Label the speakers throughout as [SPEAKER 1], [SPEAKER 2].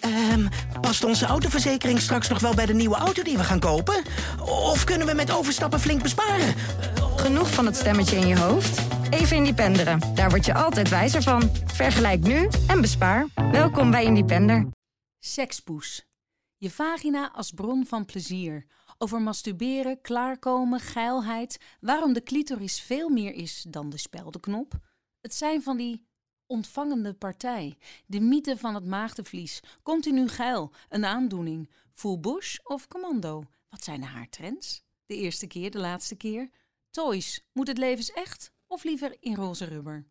[SPEAKER 1] Ehm, past onze autoverzekering straks nog wel bij de nieuwe auto die we gaan kopen? Of kunnen we met overstappen flink besparen?
[SPEAKER 2] Genoeg van het stemmetje in je hoofd? Even independeren. Daar word je altijd wijzer van. Vergelijk nu en bespaar. Welkom bij Independer.
[SPEAKER 3] Sekspoes. Je vagina als bron van plezier. Over masturberen, klaarkomen, geilheid. Waarom de clitoris veel meer is dan de speldenknop. Het zijn van die ontvangende partij. De mythe van het maagdenvlies. Continu geil. Een aandoening. Full bush of commando. Wat zijn de haartrends? De eerste keer, de laatste keer. Toys. Moet het levens echt of liever in roze rubber?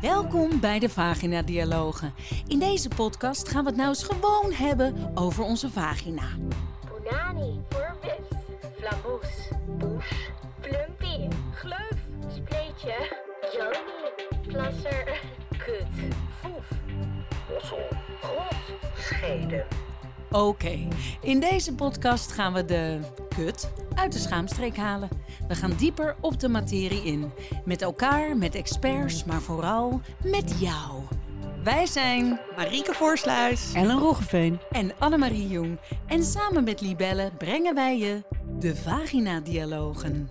[SPEAKER 3] Welkom bij de Vagina Dialogen. In deze podcast gaan we het nou eens gewoon hebben over onze vagina.
[SPEAKER 4] Punani, purpis, flaboes, poes, plumpy, gleuf, spleetje, joni, plasser, kut, foef, ossel, grot, schede.
[SPEAKER 3] Oké, in deze podcast gaan we de kut uit de schaamstreek halen. We gaan dieper op de materie in. Met elkaar, met experts, maar vooral met jou. Wij zijn
[SPEAKER 5] Marieke Voorsluis.
[SPEAKER 6] Ellen Roggeveen.
[SPEAKER 3] en Annemarie Jong. En samen met Libelle brengen wij je de Vagina Dialogen.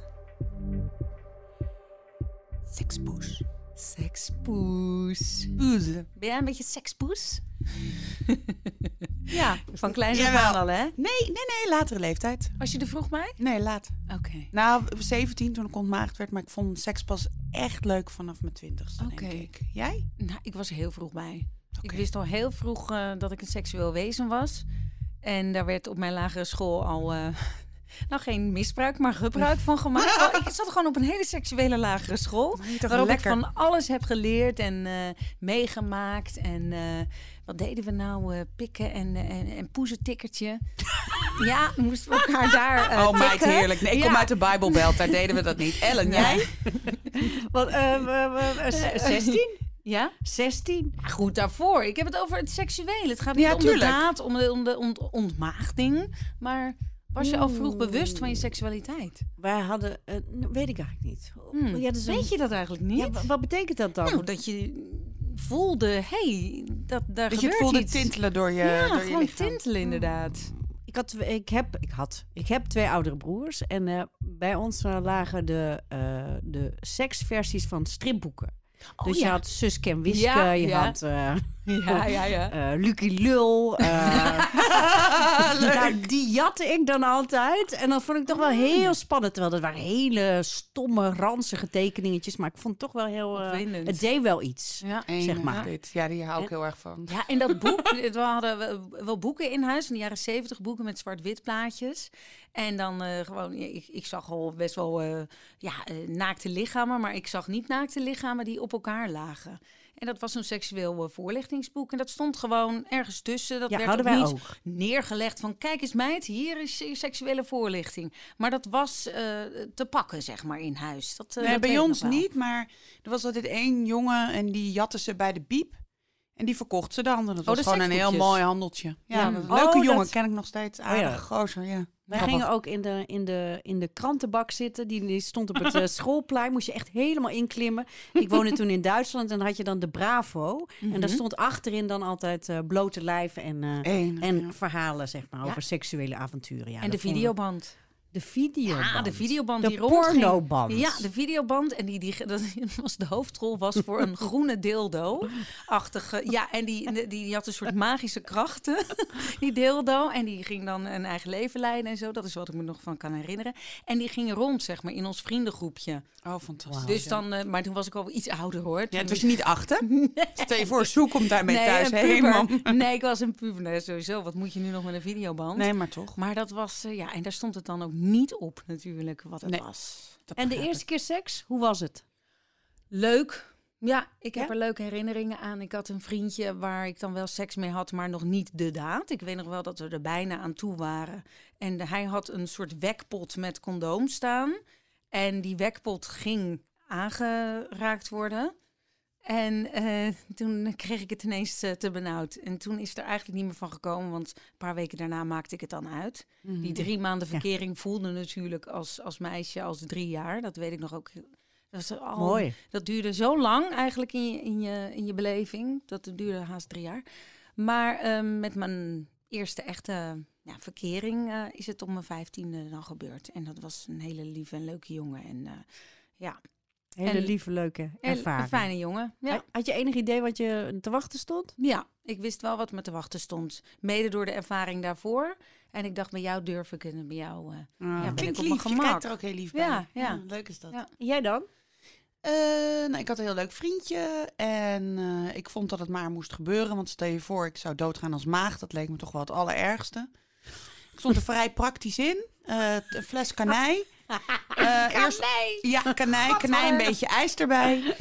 [SPEAKER 5] Sekspoes.
[SPEAKER 3] Sekspoes.
[SPEAKER 5] Poezen.
[SPEAKER 3] Ben jij een beetje sekspoes?
[SPEAKER 5] Ja.
[SPEAKER 3] Van kleins af
[SPEAKER 5] Jawel.
[SPEAKER 3] aan al, hè?
[SPEAKER 5] Nee, nee, nee, latere leeftijd.
[SPEAKER 3] Als je er vroeg mij?
[SPEAKER 5] Nee, laat.
[SPEAKER 3] Oké.
[SPEAKER 5] Nou, 17 toen ik ontmaagd werd, maar ik vond seks pas echt leuk vanaf mijn twintigste,
[SPEAKER 3] Oké.
[SPEAKER 5] denk ik. Jij?
[SPEAKER 3] Nou, ik was er heel vroeg bij. Ik
[SPEAKER 5] Oké.
[SPEAKER 3] wist al heel vroeg eh, dat ik een seksueel wezen was. En daar werd op mijn lagere school al... eh, nou, geen misbruik, maar gebruik van gemaakt. Wel, ik zat gewoon op een hele seksuele lagere school.
[SPEAKER 5] Maar je toch
[SPEAKER 3] waarop
[SPEAKER 5] lekker.
[SPEAKER 3] ik van alles heb geleerd en eh, meegemaakt. En eh, wat deden we nou? eh, pikken en, eh, en, en poezetikkertje. ja, moesten we elkaar daar eh
[SPEAKER 5] oh meid,
[SPEAKER 3] tikken.
[SPEAKER 5] heerlijk. Nee, ik kom
[SPEAKER 3] Ja.
[SPEAKER 5] uit de Bijbelbelt, daar deden we dat niet. Ellen,
[SPEAKER 3] Ja.
[SPEAKER 5] jij?
[SPEAKER 6] Wat, ehm, ehm, ehm, eh, z- 16?
[SPEAKER 3] Ja?
[SPEAKER 6] 16?
[SPEAKER 3] Maar Goed daarvoor. Ik heb het over het seksuele. Het gaat niet
[SPEAKER 5] Ja,
[SPEAKER 3] om de
[SPEAKER 5] tuurlijk.
[SPEAKER 3] daad, om de, om de ont- ontmaagding. Maar was je al vroeg bewust van je seksualiteit?
[SPEAKER 6] Wij hadden, eh, n- weet ik eigenlijk niet.
[SPEAKER 3] Hmm.
[SPEAKER 6] Ja, dat is een-
[SPEAKER 3] Weet je dat eigenlijk niet?
[SPEAKER 6] Ja, wa- wat betekent dat dan?
[SPEAKER 3] nou, dat je voelde, hey, dat, daar
[SPEAKER 5] Dat je
[SPEAKER 3] gebeurt
[SPEAKER 5] het Dus voelde
[SPEAKER 3] iets.
[SPEAKER 5] tintelen door je,
[SPEAKER 3] ja,
[SPEAKER 5] door je
[SPEAKER 3] gewoon
[SPEAKER 5] lichaam.
[SPEAKER 3] tintelen inderdaad.
[SPEAKER 6] ik, had, ik, heb, ik, had, ik heb twee oudere broers en eh, bij ons eh, lagen de, eh, de seksversies van stripboeken.
[SPEAKER 3] Oh,
[SPEAKER 6] dus
[SPEAKER 3] ja.
[SPEAKER 6] je had Suske en Wiske,
[SPEAKER 3] Ja,
[SPEAKER 6] je
[SPEAKER 3] ja.
[SPEAKER 6] had eh
[SPEAKER 3] Ja, ja, ja.
[SPEAKER 6] eh, Lucky Lul. eh, nou, die jatte ik dan altijd. En dat vond ik toch
[SPEAKER 3] Ah.
[SPEAKER 6] wel heel spannend. Terwijl dat waren hele stomme, ranzige tekeningetjes. Maar ik vond het toch wel heel... eh,
[SPEAKER 3] Opwindend.
[SPEAKER 6] het deed wel iets.
[SPEAKER 3] Ja.
[SPEAKER 6] zeg maar.
[SPEAKER 5] eh, Ja, dit. Ja, die hou ik heel erg van.
[SPEAKER 3] Ja, en dat boek, het- we hadden wel- wel boeken in huis, in de jaren zeventig boeken met zwart-wit plaatjes. En dan eh, gewoon, ja, ik, ik zag al best wel eh, ja, eh, naakte lichamen, maar ik zag niet naakte lichamen die op elkaar lagen. En dat was een seksueel eh, voorlichtingsboek. En dat stond gewoon ergens tussen. Dat
[SPEAKER 6] Ja,
[SPEAKER 3] werd
[SPEAKER 6] hadden
[SPEAKER 3] ook
[SPEAKER 6] wij
[SPEAKER 3] niet
[SPEAKER 6] ook.
[SPEAKER 3] neergelegd van, kijk eens meid, hier is je seksuele voorlichting. Maar dat was eh, te pakken, zeg maar, in huis. Dat, eh,
[SPEAKER 5] Nee,
[SPEAKER 3] dat weet
[SPEAKER 5] bij
[SPEAKER 3] ik
[SPEAKER 5] ons
[SPEAKER 3] nog wel.
[SPEAKER 5] niet, maar er was altijd één jongen en die jatte ze bij de biep. En die verkocht ze dan. En dat was
[SPEAKER 3] de
[SPEAKER 5] gewoon een heel
[SPEAKER 3] seksboekjes.
[SPEAKER 5] mooi handeltje. Oh, Ja,
[SPEAKER 3] Ja.
[SPEAKER 5] dat was een
[SPEAKER 6] Oh,
[SPEAKER 5] leuke
[SPEAKER 6] dat-
[SPEAKER 5] jongen, ken ik nog steeds. Aardige
[SPEAKER 6] ja.
[SPEAKER 5] gozer, ja.
[SPEAKER 6] Wij gingen ook in de, in, de, in de krantenbak zitten. Die, die stond op het eh, schoolplein. Moest je echt helemaal inklimmen. Ik woonde toen in Duitsland en dan had je dan de Bravo. En daar stond achterin dan altijd eh, blote lijven en, eh,
[SPEAKER 5] Enig,
[SPEAKER 6] en
[SPEAKER 5] ja.
[SPEAKER 6] verhalen zeg maar,
[SPEAKER 3] Ja.
[SPEAKER 6] over seksuele avonturen. Ja,
[SPEAKER 3] En de
[SPEAKER 6] dat vonden we-
[SPEAKER 3] videoband.
[SPEAKER 6] De videoband.
[SPEAKER 3] Ja, Ah, de videoband
[SPEAKER 6] De
[SPEAKER 3] die rondging.
[SPEAKER 6] pornoband.
[SPEAKER 3] Ja, de videoband. En die, die dat was de hoofdrol was voor een groene dildo-achtige. Ja, en die, die, die had een soort magische krachten, die dildo. En die ging dan een eigen leven leiden en zo. Dat is wat ik me nog van kan herinneren. En die ging rond, zeg maar, in ons vriendengroepje.
[SPEAKER 5] Oh, fantastisch.
[SPEAKER 3] Dus dan, eh, maar toen was ik al iets ouder hoor.
[SPEAKER 5] Ja,
[SPEAKER 3] Toen
[SPEAKER 5] het was je niet achter. Stel je voor, zoek komt daarmee thuis.
[SPEAKER 3] een
[SPEAKER 5] Hé, hey,
[SPEAKER 3] puber.
[SPEAKER 5] mam.
[SPEAKER 3] Nee, ik was een puber. Nee, sowieso. Wat moet je nu nog met een videoband?
[SPEAKER 5] Nee, maar toch.
[SPEAKER 3] Maar dat was, eh, ja, en daar stond het dan ook niet op natuurlijk, wat het
[SPEAKER 5] Nee.
[SPEAKER 3] was.
[SPEAKER 6] En de eerste keer seks, hoe was het?
[SPEAKER 3] Leuk. Ja, ik heb
[SPEAKER 6] Ja?
[SPEAKER 3] er leuke herinneringen aan. Ik had een vriendje waar ik dan wel seks mee had, maar nog niet de daad. Ik weet nog wel dat we er bijna aan toe waren. En hij had een soort wekpot met condoom staan. En die wekpot ging aangeraakt worden. En eh, toen kreeg ik het ineens eh, te benauwd. En toen is het er eigenlijk niet meer van gekomen, want een paar weken daarna maakte ik het dan uit.
[SPEAKER 6] Mhm.
[SPEAKER 3] Die drie maanden verkering voelde natuurlijk als, als meisje als drie jaar. Dat weet ik nog ook Dat is al-
[SPEAKER 6] Mooi.
[SPEAKER 3] Dat duurde zo lang eigenlijk in je, in je, in je beleving. Dat duurde haast drie jaar. Maar ehm, met mijn eerste echte ja, verkering eh, is het om mijn vijftiende dan gebeurd. En dat was een hele lieve en leuke jongen. En, eh,
[SPEAKER 6] Hele
[SPEAKER 3] En-
[SPEAKER 6] lieve, leuke
[SPEAKER 3] een-
[SPEAKER 6] ervaring.
[SPEAKER 3] Een fijne jongen. Ja.
[SPEAKER 6] Had- Had je enig idee wat je te wachten stond?
[SPEAKER 3] Ja, ik wist wel wat me te wachten stond. Mede door de ervaring daarvoor. En ik dacht, bij jou durf ik het en bij jou... eh,
[SPEAKER 5] Ah.
[SPEAKER 3] ben
[SPEAKER 5] Klinkt
[SPEAKER 3] ik op mijn
[SPEAKER 5] lief, je
[SPEAKER 3] gemak.
[SPEAKER 5] kijkt er ook heel lief bij.
[SPEAKER 3] Ja, ja.
[SPEAKER 5] Leuk is dat.
[SPEAKER 3] Ja.
[SPEAKER 6] En Jij dan?
[SPEAKER 5] Eh, nou, ik had een heel leuk vriendje en eh, ik vond dat het maar moest gebeuren. Want stel je voor, ik zou doodgaan als maagd. Dat leek me toch wel het allerergste. Ik stond er vrij praktisch in. Eh, t- een fles kanij. Eh, eerst, ja, kanij, kanij, een beetje ijs erbij.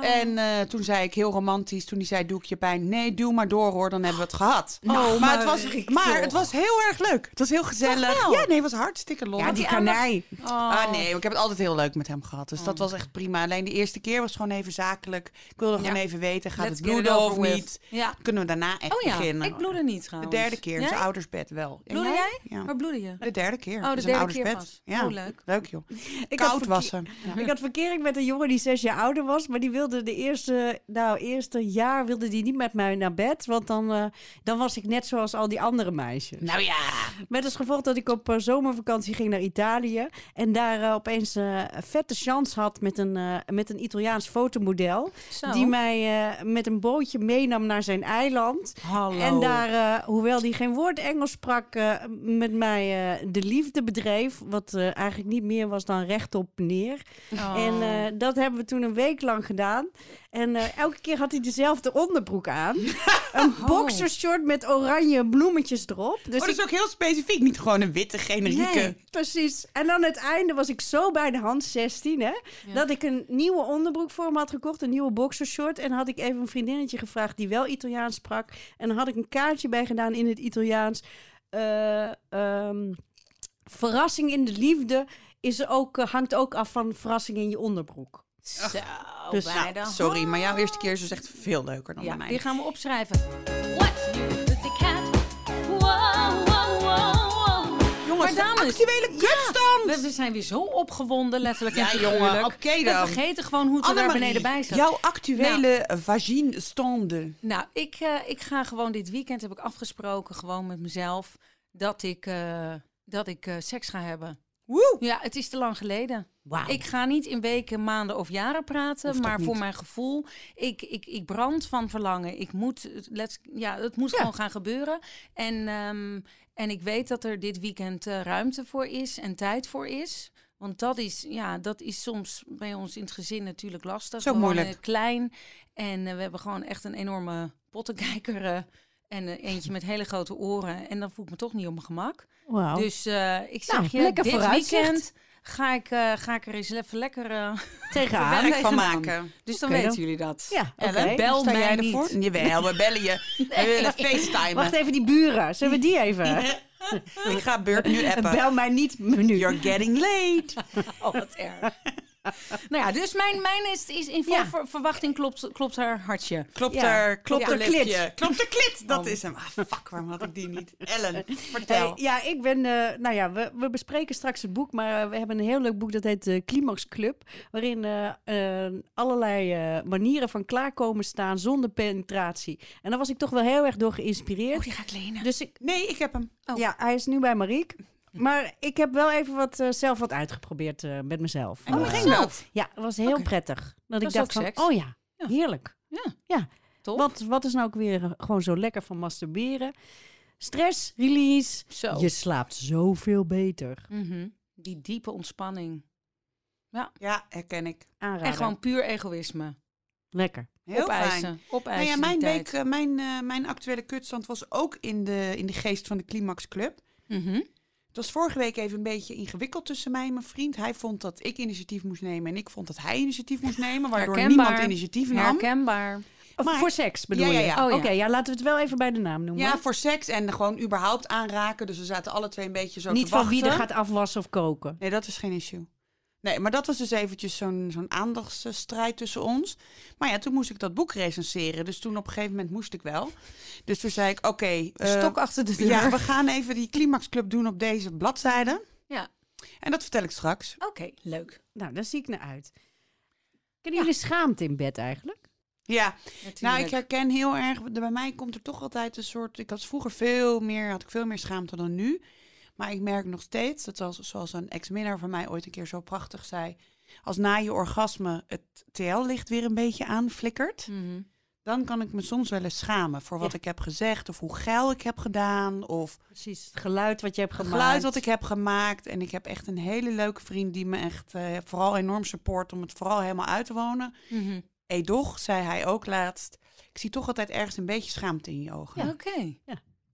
[SPEAKER 5] En eh, toen zei ik heel romantisch, toen die zei, doe ik je pijn? Nee, duw maar door hoor, dan hebben we het gehad.
[SPEAKER 3] Oh,
[SPEAKER 5] maar, het was, maar het was heel erg leuk. Het was heel gezellig. Ja, nee, het was hartstikke lol.
[SPEAKER 6] ja, die kanij.
[SPEAKER 3] Oh,
[SPEAKER 5] Ah nee, ik heb het altijd heel leuk met hem gehad. Dus dat was echt prima. Alleen de eerste keer was gewoon even zakelijk. Ik wilde gewoon
[SPEAKER 3] Ja.
[SPEAKER 5] even weten, gaat
[SPEAKER 3] Let's
[SPEAKER 5] het
[SPEAKER 3] get it
[SPEAKER 5] bloeden of
[SPEAKER 3] over with.
[SPEAKER 5] niet?
[SPEAKER 3] Ja.
[SPEAKER 5] Kunnen we daarna echt
[SPEAKER 3] Oh ja,
[SPEAKER 5] beginnen?
[SPEAKER 3] ik bloedde niet
[SPEAKER 5] De
[SPEAKER 3] trouwens.
[SPEAKER 5] derde keer, in
[SPEAKER 3] Jij?
[SPEAKER 5] zijn oudersbed wel. En
[SPEAKER 3] Bloedde jij?
[SPEAKER 5] Ja.
[SPEAKER 3] Waar bloedde je?
[SPEAKER 5] De derde keer.
[SPEAKER 3] Oh, de
[SPEAKER 5] in zijn
[SPEAKER 3] derde
[SPEAKER 5] ouders
[SPEAKER 3] keer
[SPEAKER 5] bed.
[SPEAKER 3] pas.
[SPEAKER 5] Ja.
[SPEAKER 3] Oh, leuk.
[SPEAKER 5] Leuk joh.
[SPEAKER 6] Ik had
[SPEAKER 5] Koud
[SPEAKER 6] verkeer-
[SPEAKER 5] was hem. Ja.
[SPEAKER 6] Ik had verkering met een jongen die zes jaar ouder was. Maar die wilde de eerste, nou, eerste jaar wilde die niet met mij naar bed. Want dan, eh, dan was ik net zoals al die andere meisjes.
[SPEAKER 5] Nou ja.
[SPEAKER 6] Met als gevolg dat ik op eh, zomervakantie ging naar Italië. En daar eh, opeens eh, een vette chance had met een, eh, met een Italiaans fotomodel.
[SPEAKER 3] Zo.
[SPEAKER 6] Die mij eh, met een bootje meenam naar zijn eiland.
[SPEAKER 3] Hallo.
[SPEAKER 5] Oh,
[SPEAKER 6] En daar, eh, hoewel die geen woord Engels sprak, eh, met mij eh, de liefde bedreef. Wat eh, eigenlijk niet meer was dan rechtop neer.
[SPEAKER 3] Oh.
[SPEAKER 6] En eh, dat hebben we toen een week lang gedaan. En eh, elke keer had hij dezelfde onderbroek aan. een boxershort met oranje bloemetjes erop.
[SPEAKER 5] oh,
[SPEAKER 6] Dus ik-
[SPEAKER 5] dat is ook heel specifiek. Niet gewoon een witte generieke.
[SPEAKER 6] Nee, precies. En aan het einde was ik zo bij de hand 16, hè, dat ik een nieuwe onderbroek voor hem had gekocht, een nieuwe boxershort. En had ik even een vriendinnetje gevraagd die wel Italiaans sprak. En dan had ik een kaartje bij gedaan in het Italiaans. Eh, ehm, verrassing in de liefde is ook, eh, hangt ook af van verrassing in je onderbroek.
[SPEAKER 3] Zo,
[SPEAKER 6] Dus,
[SPEAKER 3] bij
[SPEAKER 5] Nou,
[SPEAKER 3] de
[SPEAKER 5] sorry, maar jouw eerste keer is dus echt veel leuker dan
[SPEAKER 3] Oh. Ja,
[SPEAKER 5] mijn.
[SPEAKER 3] die gaan we opschrijven.
[SPEAKER 4] What's new with the cat? Wow, wow, wow, wow.
[SPEAKER 5] Jongens,
[SPEAKER 3] Maar dames-
[SPEAKER 5] de actuele kutstand!
[SPEAKER 3] We, we zijn weer zo opgewonden, letterlijk en
[SPEAKER 5] Ja, jongen,
[SPEAKER 3] figuurlijk.
[SPEAKER 5] oké
[SPEAKER 3] We
[SPEAKER 5] dan.
[SPEAKER 3] vergeten gewoon hoe het er daar
[SPEAKER 5] Annemarie,
[SPEAKER 3] beneden bij zat.
[SPEAKER 5] Jouw actuele vagine stande.
[SPEAKER 3] Nou, ik, eh, ik ga gewoon dit weekend, heb ik afgesproken, gewoon met mezelf, dat ik, eh, dat ik eh, seks ga hebben.
[SPEAKER 5] Woe!
[SPEAKER 3] Ja, het is te lang geleden.
[SPEAKER 6] Wauw.
[SPEAKER 3] Ik ga niet in weken, maanden of jaren praten,
[SPEAKER 5] Hoeft ook
[SPEAKER 3] maar voor
[SPEAKER 5] niet.
[SPEAKER 3] mijn gevoel, ik, ik, ik brand van verlangen. Ik moet, het- let's, ja, het moet gewoon gaan gebeuren. En, ehm, en ik weet dat er dit weekend eh, ruimte voor is en tijd voor is. Want dat is, ja, dat is soms bij ons in het gezin natuurlijk lastig.
[SPEAKER 5] Zo
[SPEAKER 3] We wonen
[SPEAKER 5] moeilijk.
[SPEAKER 3] klein en eh, we hebben gewoon echt een enorme pottenkijker eh, en eh, eentje met hele grote oren. En dan voel ik me toch niet op mijn gemak.
[SPEAKER 5] Oh.
[SPEAKER 6] Wauw.
[SPEAKER 3] Dus eh, ik zeg
[SPEAKER 6] Nou,
[SPEAKER 3] je,
[SPEAKER 6] lekker
[SPEAKER 3] dit
[SPEAKER 6] vooruitzicht.
[SPEAKER 3] weekend ga ik, eh, ga ik er eens even lekker... eh,
[SPEAKER 6] tegen
[SPEAKER 3] Daar
[SPEAKER 5] Werk
[SPEAKER 3] tegen
[SPEAKER 5] van
[SPEAKER 3] aan.
[SPEAKER 5] maken.
[SPEAKER 3] dus dan
[SPEAKER 6] Oké,
[SPEAKER 3] weten
[SPEAKER 6] dan-
[SPEAKER 3] jullie dat.
[SPEAKER 6] Ja, oké.
[SPEAKER 3] Ellen, bel
[SPEAKER 5] Sta
[SPEAKER 3] mij
[SPEAKER 5] jij
[SPEAKER 3] niet.
[SPEAKER 5] ervoor? Jawel, we bellen je. We willen facetimen.
[SPEAKER 6] Wacht even, die buren. Zullen we die even?
[SPEAKER 5] Ik ga Beurt nu appen.
[SPEAKER 6] Bel mij niet menu.
[SPEAKER 5] You're getting late.
[SPEAKER 3] Oh, wat erg. nou ja, dus mijn, mijn is, is in vol
[SPEAKER 6] Ja.
[SPEAKER 3] ver- verwachting klopt, klopt haar hartje.
[SPEAKER 5] Klopt
[SPEAKER 6] Ja.
[SPEAKER 5] er, klopt
[SPEAKER 6] Ja.
[SPEAKER 5] er
[SPEAKER 6] Klit.
[SPEAKER 5] lipje. Klopt er klit. Dat is hem. Ah, fuck, waarom had ik die niet? Ellen,
[SPEAKER 6] Hey,
[SPEAKER 5] vertel.
[SPEAKER 6] ja, ik ben. eh, nou ja, we, we bespreken straks het boek. Maar eh, we hebben een heel leuk boek dat heet eh, Climax Club. Waarin eh, eh, allerlei eh, manieren van klaarkomen staan zonder penetratie. En daar was ik toch wel heel erg door geïnspireerd.
[SPEAKER 3] Oh, die ga ik lenen.
[SPEAKER 6] Dus ik,
[SPEAKER 5] Nee, Oh. ik heb hem.
[SPEAKER 6] ja, hij is nu bij Mariek. Maar ik heb wel even wat, eh, zelf wat uitgeprobeerd eh, met mezelf.
[SPEAKER 5] En hoe
[SPEAKER 6] Eh,
[SPEAKER 5] ging dat?
[SPEAKER 6] ja, het was heel prettig. Dat, ik
[SPEAKER 3] is
[SPEAKER 6] dacht
[SPEAKER 3] ook
[SPEAKER 6] van,
[SPEAKER 3] seks.
[SPEAKER 6] oh ja,
[SPEAKER 3] Ja.
[SPEAKER 6] heerlijk.
[SPEAKER 3] Ja.
[SPEAKER 6] ja.
[SPEAKER 3] Tof.
[SPEAKER 6] Wat, wat is nou ook weer eh, gewoon zo lekker van masturberen? Stress, release.
[SPEAKER 3] Zo.
[SPEAKER 6] Je slaapt zoveel beter.
[SPEAKER 3] Mhm. Die diepe ontspanning.
[SPEAKER 5] Ja, herken ik.
[SPEAKER 6] Aanraden.
[SPEAKER 3] En gewoon puur egoïsme.
[SPEAKER 6] lekker.
[SPEAKER 5] Heel fijn.
[SPEAKER 3] opeisen.
[SPEAKER 5] Nou
[SPEAKER 3] Opeisen.
[SPEAKER 5] ja, mijn,
[SPEAKER 3] die
[SPEAKER 5] week,
[SPEAKER 3] tijd.
[SPEAKER 5] eh, mijn, eh, mijn actuele kutstand was ook in de, in de geest van de Climax Club.
[SPEAKER 3] Mhm.
[SPEAKER 5] Het was vorige week even een beetje ingewikkeld tussen mij en mijn vriend. Hij vond dat ik initiatief moest nemen en ik vond dat hij initiatief moest nemen, waardoor
[SPEAKER 3] Herkenbaar.
[SPEAKER 5] niemand initiatief nam.
[SPEAKER 3] Herkenbaar.
[SPEAKER 6] Of
[SPEAKER 5] Maar-
[SPEAKER 6] voor seks bedoel
[SPEAKER 5] Ja, ja,
[SPEAKER 6] je?
[SPEAKER 5] ja.
[SPEAKER 3] Oh, ja.
[SPEAKER 6] Oké, ja, laten we het wel even bij de naam noemen.
[SPEAKER 5] Ja, voor seks en gewoon überhaupt aanraken. Dus we zaten alle twee een beetje zo
[SPEAKER 6] Niet
[SPEAKER 5] te
[SPEAKER 6] van
[SPEAKER 5] wachten.
[SPEAKER 6] wie er gaat afwassen of koken.
[SPEAKER 5] Nee, dat is geen issue. Nee, maar dat was dus eventjes zo'n zo'n aandachtsstrijd tussen ons. Maar ja, toen moest ik dat boek recenseren. Dus toen op een gegeven moment moest ik wel. Dus toen zei ik, oké... eh,
[SPEAKER 3] Stok achter de deur.
[SPEAKER 5] ja, we gaan even die climaxclub doen op deze bladzijde.
[SPEAKER 3] Ja.
[SPEAKER 5] En dat vertel ik straks.
[SPEAKER 3] Oké, leuk.
[SPEAKER 6] Nou, daar zie ik naar uit. Kennen jullie schaamte in bed eigenlijk?
[SPEAKER 5] Ja, nou ik
[SPEAKER 3] Natuurlijk.
[SPEAKER 5] herken heel erg, de- bij mij komt er toch altijd een soort, ik had vroeger veel meer, had ik veel meer schaamte dan nu. Maar ik merk nog steeds, dat zoals, zoals een ex-minnaar van mij ooit een keer zo prachtig zei, als na je orgasme het TL-licht weer een beetje aanflikkert,
[SPEAKER 3] Mhm.
[SPEAKER 5] dan kan ik me soms wel eens schamen voor wat
[SPEAKER 6] Ja.
[SPEAKER 5] ik heb gezegd of hoe geil ik heb gedaan of
[SPEAKER 6] Precies, het geluid wat je hebt
[SPEAKER 5] het
[SPEAKER 6] gemaakt.
[SPEAKER 5] geluid wat ik heb gemaakt. En ik heb echt een hele leuke vriend die me echt eh, vooral enorm support om het vooral helemaal uit te wonen.
[SPEAKER 3] Mhm.
[SPEAKER 5] Edoch, zei hij ook laatst. Ik zie toch altijd ergens een beetje schaamte in je ogen.
[SPEAKER 3] Oké.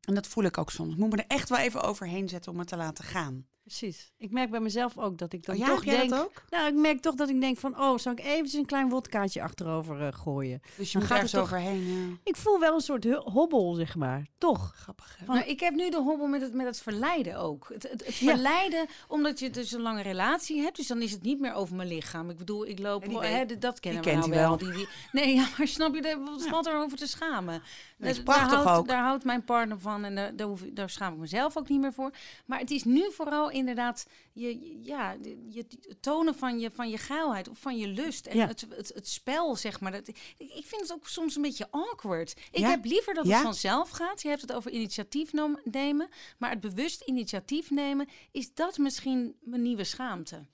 [SPEAKER 5] En dat voel ik ook soms. Ik moet me er echt wel even overheen zetten om het te laten gaan.
[SPEAKER 6] Precies. Ik merk bij mezelf ook dat ik dan
[SPEAKER 5] Oh ja,
[SPEAKER 6] toch
[SPEAKER 5] heb jij dat
[SPEAKER 6] denk...
[SPEAKER 5] ook?
[SPEAKER 6] Nou, ik merk toch dat ik denk van... Oh, zou ik eventjes een klein wodkaatje achterover eh, gooien?
[SPEAKER 5] Dus je
[SPEAKER 6] Dan
[SPEAKER 5] moet
[SPEAKER 6] gaat
[SPEAKER 5] ergens
[SPEAKER 6] het toch-
[SPEAKER 5] overheen. ja.
[SPEAKER 6] Ik voel wel een soort hu- hobbel, zeg maar. Toch?
[SPEAKER 5] Grappig. hè?
[SPEAKER 6] Van-
[SPEAKER 3] Nou, ik heb nu de hobbel met het, met het verleiden ook. Het, het, het
[SPEAKER 6] Ja.
[SPEAKER 3] verleiden, omdat je dus een lange relatie hebt. Dus dan is het niet meer over mijn lichaam. Ik bedoel, ik loop...
[SPEAKER 5] En die
[SPEAKER 3] wel-
[SPEAKER 5] weet-
[SPEAKER 3] hè, d- dat kennen
[SPEAKER 5] kent
[SPEAKER 3] we
[SPEAKER 5] hij
[SPEAKER 3] nou
[SPEAKER 5] wel.
[SPEAKER 3] Die, die- nee, ja, maar snap je, daar wat valt erover te schamen.
[SPEAKER 5] Nee, is
[SPEAKER 3] Daar- daar
[SPEAKER 5] prachtig
[SPEAKER 3] houdt,
[SPEAKER 5] ook.
[SPEAKER 3] Daar houdt mijn partner van en daar, daar, hoef, ik- daar schaam ik mezelf ook niet meer voor. Maar het is nu vooral inderdaad je, ja, je, je tonen van je, van je geilheid of van je lust. En
[SPEAKER 6] Ja.
[SPEAKER 3] het, het, het spel, zeg maar. Dat, ik- ik vind het ook soms een beetje awkward. Ik
[SPEAKER 5] Ja?
[SPEAKER 3] heb liever dat
[SPEAKER 5] Ja?
[SPEAKER 3] het vanzelf gaat. Je hebt het over initiatief nom- nemen. Maar het bewust initiatief nemen, is dat misschien mijn nieuwe schaamte?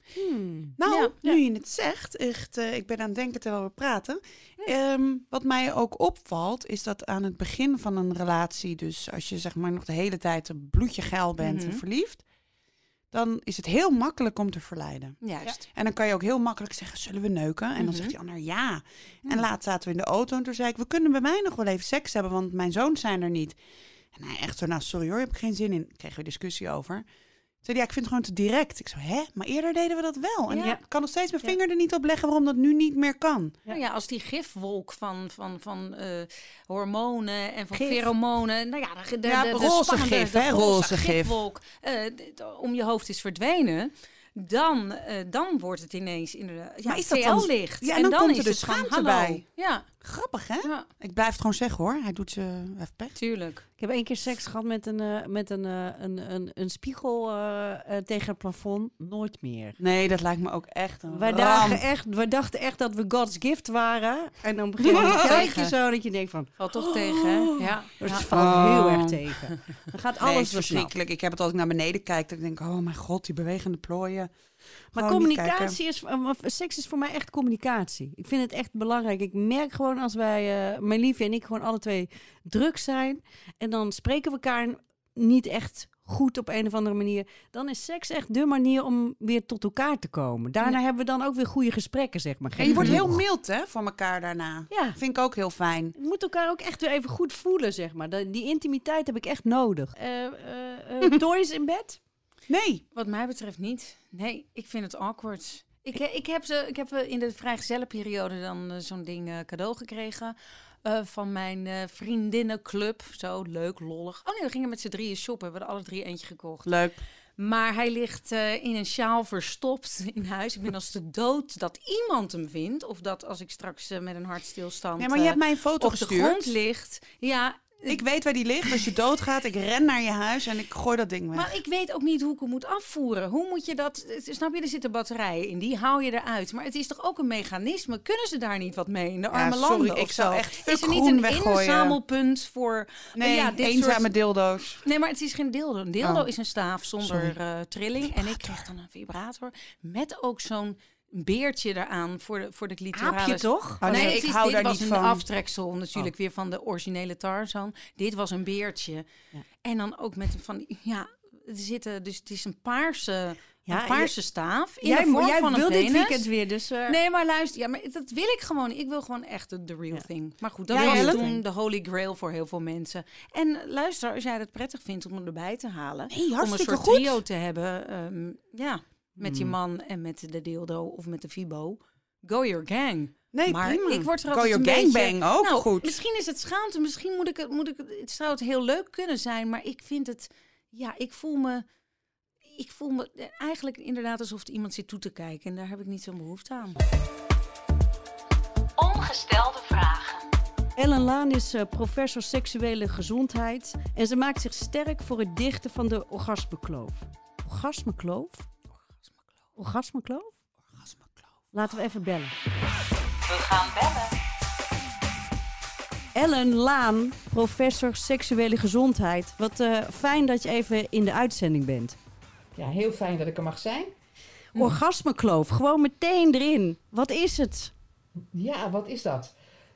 [SPEAKER 5] Nou,
[SPEAKER 3] Ja.
[SPEAKER 5] nu je het zegt, echt, eh, ik ben aan het denken terwijl we praten. Ehm, wat mij ook opvalt, is dat aan het begin van een relatie, dus als je zeg maar nog de hele tijd een bloedje geil bent
[SPEAKER 3] Mhm.
[SPEAKER 5] en verliefd, dan is het heel makkelijk om te verleiden.
[SPEAKER 3] Juist.
[SPEAKER 5] En dan kan je ook heel makkelijk zeggen, zullen we neuken? En dan
[SPEAKER 3] Mhm.
[SPEAKER 5] zegt die ander ja. En laatst zaten we in de auto en toen zei ik, we kunnen bij mij nog wel even seks hebben, want mijn zoons zijn er niet. En hij echt zo, nou sorry hoor, je hebt geen zin in. Kregen we discussie over. Toen zei hij, ja, ik vind het gewoon te direct. Ik zo, hè? Maar eerder deden we dat wel. En
[SPEAKER 3] Ja.
[SPEAKER 5] ik kan nog steeds mijn
[SPEAKER 6] Ja.
[SPEAKER 5] vinger er niet op leggen waarom dat nu niet meer kan.
[SPEAKER 3] Nou ja, als die gifwolk van, van, van eh, hormonen en van
[SPEAKER 6] Gif.
[SPEAKER 3] feromonen. Nou ja, de, de,
[SPEAKER 5] Ja,
[SPEAKER 3] de, de
[SPEAKER 5] roze
[SPEAKER 3] spannende-
[SPEAKER 5] gif,
[SPEAKER 3] de
[SPEAKER 5] hè, roze gif.
[SPEAKER 3] gifwolk eh, d- d- om je hoofd is verdwenen. Dan, eh, dan wordt het ineens inderdaad. Ja,
[SPEAKER 5] Maar is dat dan-
[SPEAKER 3] TL-licht.
[SPEAKER 5] Ja, en dan komt er
[SPEAKER 3] is
[SPEAKER 5] dus
[SPEAKER 3] het van,
[SPEAKER 5] schaamte
[SPEAKER 3] hallo.
[SPEAKER 5] bij.
[SPEAKER 3] Ja,
[SPEAKER 5] Grappig, hè?
[SPEAKER 3] ja,
[SPEAKER 5] Ik blijf het gewoon zeggen hoor. Hij doet ze, hij heeft pech.
[SPEAKER 3] tuurlijk.
[SPEAKER 6] Ik heb één keer seks gehad met een, eh, met een, eh, een, een, een spiegel eh, eh, tegen het plafond. Nooit meer.
[SPEAKER 5] Nee, dat lijkt me ook echt een
[SPEAKER 6] Wij,
[SPEAKER 5] ramp.
[SPEAKER 6] dagen echt, wij dachten echt dat we God's gift waren. En dan begin je te kijken zo dat je denkt van...
[SPEAKER 3] Valt toch
[SPEAKER 5] Oh.
[SPEAKER 3] tegen, hè? Ja.
[SPEAKER 6] Het
[SPEAKER 3] Ja.
[SPEAKER 6] valt heel erg tegen. Dan gaat
[SPEAKER 5] Nee,
[SPEAKER 6] alles
[SPEAKER 5] is verschrikkelijk. Ik heb het als ik naar beneden kijk, dat ik denk, oh mijn god, die bewegende plooien.
[SPEAKER 6] Maar
[SPEAKER 5] Gewoon niet kijken.
[SPEAKER 6] communicatie is, eh, maar seks is voor mij echt communicatie. Ik vind het echt belangrijk. Ik merk gewoon als wij, eh, mijn liefje en ik, gewoon alle twee druk zijn. En dan spreken we elkaar niet echt goed op een of andere manier. Dan is seks echt de manier om weer tot elkaar te komen. Daarna hebben we dan ook weer goede gesprekken, zeg maar.
[SPEAKER 5] En je wordt
[SPEAKER 6] Gek
[SPEAKER 5] heel
[SPEAKER 6] genoeg.
[SPEAKER 5] mild hè, voor elkaar daarna.
[SPEAKER 6] Ja,
[SPEAKER 5] Vind ik ook heel fijn.
[SPEAKER 6] we moeten elkaar ook echt weer even goed voelen, zeg maar. Dat- Die intimiteit heb ik echt nodig. Eh eh, eh, toys in bed?
[SPEAKER 5] Nee.
[SPEAKER 3] Wat mij betreft niet. Nee, ik vind het awkward. Ik, ik, heb, ze, ik heb eh, in de vrijgezellenperiode dan eh, zo'n ding eh, cadeau gekregen. eh, van mijn eh, vriendinnenclub. Zo leuk, lollig. Oh nee, we gingen met z'n drieën shoppen. We hadden alle drie eentje gekocht.
[SPEAKER 5] Leuk.
[SPEAKER 3] Maar hij ligt eh, in een sjaal verstopt in huis. Ik ben als de dood dat iemand hem vindt. Of dat als ik straks eh, met een hartstilstand
[SPEAKER 5] Ja, maar je
[SPEAKER 3] eh,
[SPEAKER 5] hebt mij een foto
[SPEAKER 3] op de grond
[SPEAKER 5] gestuurd.
[SPEAKER 3] ligt. Ja,
[SPEAKER 5] Ik weet waar die ligt. Als je doodgaat, ik ren naar je huis en ik gooi dat ding weg.
[SPEAKER 3] Maar ik weet ook niet hoe ik hem moet afvoeren. Hoe moet je dat... eh, Snap je, er zitten batterijen in. Die haal je eruit. Maar het is toch ook een mechanisme? Kunnen ze daar niet wat mee in de arme
[SPEAKER 5] sorry,
[SPEAKER 3] landen of
[SPEAKER 5] ik zou
[SPEAKER 3] zo?
[SPEAKER 5] echt
[SPEAKER 3] is er niet
[SPEAKER 5] groen
[SPEAKER 3] een
[SPEAKER 5] weggooien.
[SPEAKER 3] inzamelpunt voor...
[SPEAKER 5] nee,
[SPEAKER 3] ja, dit
[SPEAKER 5] eenzame
[SPEAKER 3] soort-
[SPEAKER 5] dildo's.
[SPEAKER 3] Nee, maar het is geen dildo. Een dildo
[SPEAKER 5] Oh.
[SPEAKER 3] is een staaf zonder eh, trilling. En ik kreeg dan een vibrator met ook zo'n beertje eraan voor de, voor de clitoralis.
[SPEAKER 6] toch?
[SPEAKER 3] nee,
[SPEAKER 5] Oh, nee,
[SPEAKER 3] het
[SPEAKER 5] ik
[SPEAKER 3] is-
[SPEAKER 5] hou
[SPEAKER 3] dit
[SPEAKER 5] daar
[SPEAKER 3] was
[SPEAKER 5] niet
[SPEAKER 3] een
[SPEAKER 5] van. Oh.
[SPEAKER 3] aftreksel natuurlijk weer van de originele Tarzan. Dit was een beertje.
[SPEAKER 6] Ja.
[SPEAKER 3] En dan ook met een van, ja, er zitten, dus het is een paarse,
[SPEAKER 6] Ja,
[SPEAKER 3] een paarse staaf in
[SPEAKER 6] jij
[SPEAKER 3] de vorm
[SPEAKER 6] jij
[SPEAKER 3] van
[SPEAKER 6] wil
[SPEAKER 3] een
[SPEAKER 6] dit
[SPEAKER 3] penis.
[SPEAKER 6] weekend weer, dus... eh,
[SPEAKER 3] Nee, maar luister, ja, maar dat wil ik gewoon. Ik wil gewoon echt de, de real
[SPEAKER 6] Ja.
[SPEAKER 3] thing. Maar goed, dat
[SPEAKER 5] Ja,
[SPEAKER 3] was
[SPEAKER 5] Ellen?
[SPEAKER 3] toen de holy grail voor heel veel mensen. En eh, luister, als jij het prettig vindt om hem erbij te halen,
[SPEAKER 5] Nee,
[SPEAKER 3] om een
[SPEAKER 5] hartstikke
[SPEAKER 3] soort
[SPEAKER 5] goed. Mm.
[SPEAKER 3] trio te hebben, ehm, ja, met je man en met de dildo of met de fibo, go your gang
[SPEAKER 5] Nee,
[SPEAKER 3] maar
[SPEAKER 5] prima.
[SPEAKER 3] ik word er
[SPEAKER 5] Go
[SPEAKER 3] altijd
[SPEAKER 5] your
[SPEAKER 3] een beetje-
[SPEAKER 5] gangbang ook
[SPEAKER 3] nou,
[SPEAKER 5] goed.
[SPEAKER 3] Misschien is het schaamte, misschien moet ik het, moet ik het, het zou het heel leuk kunnen zijn, maar ik vind het, ja, ik voel me, ik voel me eh, eigenlijk inderdaad alsof er iemand zit toe te kijken en daar heb ik niet zo'n behoefte aan.
[SPEAKER 4] Ongestelde vragen.
[SPEAKER 6] Ellen Laan is eh, professor seksuele gezondheid en ze maakt zich sterk voor het dichten van de orgasmekloof. Orgasmekloof? Orgasmekloof? Laten we even bellen.
[SPEAKER 7] We gaan bellen.
[SPEAKER 6] Ellen Laan, professor seksuele gezondheid. Wat eh, fijn dat je even in de uitzending bent.
[SPEAKER 8] Ja, heel fijn dat ik er mag zijn.
[SPEAKER 6] Orgasmekloof, gewoon meteen erin. Wat is het?
[SPEAKER 8] Ja, wat is dat?